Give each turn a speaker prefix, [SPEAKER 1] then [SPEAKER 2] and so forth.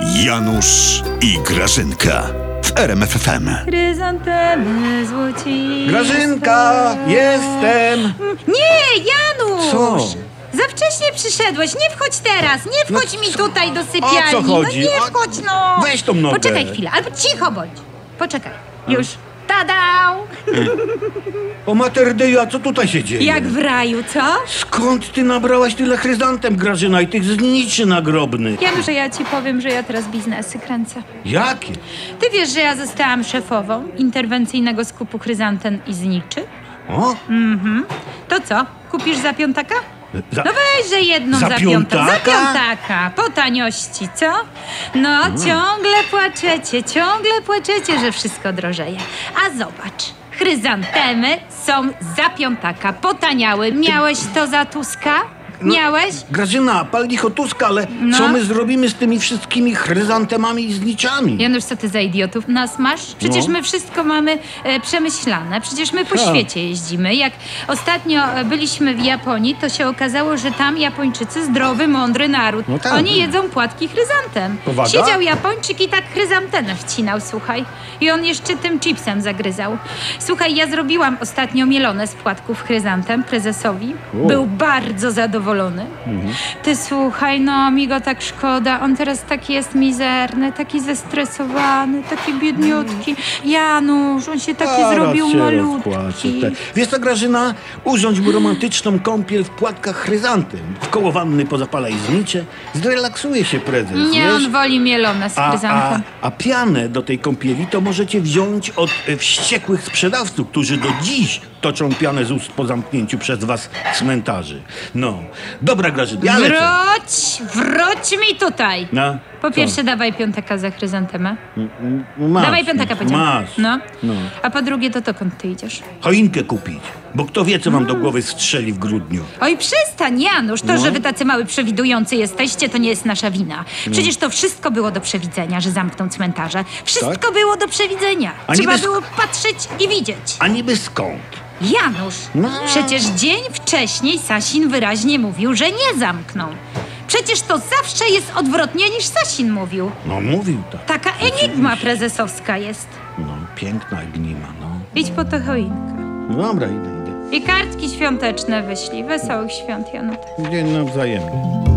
[SPEAKER 1] Janusz i Grażynka w RMFFM.
[SPEAKER 2] Chryzantemy złociste.
[SPEAKER 3] Grażynka, jestem!
[SPEAKER 2] Nie, Janusz!
[SPEAKER 3] Co?
[SPEAKER 2] Za wcześnie przyszedłeś, nie wchodź teraz, nie wchodź mi tutaj do sypialni.
[SPEAKER 3] No O co chodzi?
[SPEAKER 2] No nie
[SPEAKER 3] O-
[SPEAKER 2] wchodź, no!
[SPEAKER 3] Weź tą nogę.
[SPEAKER 2] Poczekaj chwilę, albo cicho bądź. Poczekaj, już. Tadał!
[SPEAKER 3] O Materdeju, a co tutaj się dzieje?
[SPEAKER 2] Jak w raju, co?
[SPEAKER 3] Skąd ty nabrałaś tyle chryzantem, Grażyna, i tych zniczy nagrobnych?
[SPEAKER 2] Janusz, ja ci powiem, że ja teraz biznesy kręcę.
[SPEAKER 3] Jakie?
[SPEAKER 2] Ty wiesz, że ja zostałam szefową interwencyjnego skupu chryzanten i zniczy?
[SPEAKER 3] O?
[SPEAKER 2] To co, kupisz za piątaka?
[SPEAKER 3] Za-
[SPEAKER 2] No weźże jedną
[SPEAKER 3] za
[SPEAKER 2] za, piątaka. Za
[SPEAKER 3] piątaka?
[SPEAKER 2] piątaka, po taniości, co? No,
[SPEAKER 3] Mm.
[SPEAKER 2] ciągle płaczecie, ciągle płaczecie, że wszystko drożeje. A zobacz, chryzantemy są za piątaka, potaniały. Miałeś to za Tuska?
[SPEAKER 3] No-
[SPEAKER 2] Miałeś?
[SPEAKER 3] Grażyna, pal licho Tuska, ale
[SPEAKER 2] No.
[SPEAKER 3] co my zrobimy z tymi wszystkimi chryzantemami i zniczami?
[SPEAKER 2] Janusz, co ty za idiotów nas masz? Przecież
[SPEAKER 3] No.
[SPEAKER 2] my wszystko mamy e, przemyślane, przecież my po
[SPEAKER 3] Tak.
[SPEAKER 2] świecie jeździmy. Jak ostatnio e, byliśmy w Japonii, to się okazało, że tam Japończycy zdrowy, mądry naród.
[SPEAKER 3] No tak.
[SPEAKER 2] Oni jedzą płatki chryzantem.
[SPEAKER 3] Powaga?
[SPEAKER 2] Siedział Japończyk i tak chryzantenę wcinał, słuchaj. I on jeszcze tym chipsem zagryzał. Słuchaj, ja zrobiłam ostatnio mielone z płatków chryzantem prezesowi.
[SPEAKER 3] O.
[SPEAKER 2] Był bardzo zadowolony.
[SPEAKER 3] Mhm.
[SPEAKER 2] Ty słuchaj, no mi go tak szkoda. On teraz taki jest mizerny, taki zestresowany, taki biedniutki. Janusz, on się taki
[SPEAKER 3] Zaraz
[SPEAKER 2] zrobił
[SPEAKER 3] się
[SPEAKER 2] malutki.
[SPEAKER 3] rozpłaczę. Te- Wiesz co, Grażyna? Urządź mu romantyczną kąpiel w płatkach chryzantem. Koło wanny pozapalaj znicze. Zrelaksuje się prezes,
[SPEAKER 2] Nie,
[SPEAKER 3] wiesz?
[SPEAKER 2] on woli mielone z
[SPEAKER 3] A, a,
[SPEAKER 2] chryzantem.
[SPEAKER 3] a pianę do tej kąpieli to możecie wziąć od e, wściekłych sprzedawców, którzy do dziś toczą pianę z ust po zamknięciu przez was cmentarzy. No, dobra Grażyna, ja lecę.
[SPEAKER 2] Wróć, wróć mi tutaj.
[SPEAKER 3] No,
[SPEAKER 2] Po
[SPEAKER 3] co?
[SPEAKER 2] pierwsze dawaj piątaka za chryzantemę.
[SPEAKER 3] Masz,
[SPEAKER 2] Dawaj piątaka, powiedziałam.
[SPEAKER 3] Masz.
[SPEAKER 2] No.
[SPEAKER 3] No.
[SPEAKER 2] A po drugie, to dokąd ty idziesz?
[SPEAKER 3] Choinkę kupić, bo kto wie, co wam
[SPEAKER 2] Mm.
[SPEAKER 3] do głowy strzeli w grudniu.
[SPEAKER 2] Oj, przestań, Janusz. To,
[SPEAKER 3] No.
[SPEAKER 2] że wy tacy mały przewidujący jesteście, to nie jest nasza wina.
[SPEAKER 3] No.
[SPEAKER 2] Przecież to wszystko było do przewidzenia, że zamkną cmentarze. Wszystko
[SPEAKER 3] Tak?
[SPEAKER 2] było do przewidzenia.
[SPEAKER 3] A
[SPEAKER 2] Trzeba
[SPEAKER 3] niby sk-
[SPEAKER 2] było patrzeć i widzieć.
[SPEAKER 3] A niby skąd?
[SPEAKER 2] Janusz,
[SPEAKER 3] No.
[SPEAKER 2] przecież dzień wcześniej Sasin wyraźnie mówił, że nie zamkną. Przecież to zawsze jest odwrotnie niż Sasin mówił.
[SPEAKER 3] No mówił tak.
[SPEAKER 2] Taka enigma prezesowska jest.
[SPEAKER 3] No, piękna gnima, no.
[SPEAKER 2] Idź po to choinkę.
[SPEAKER 3] Dobra, idę, idę.
[SPEAKER 2] I kartki świąteczne wyślij. Wesołych świąt, Janutek.
[SPEAKER 3] Dzień nawzajem.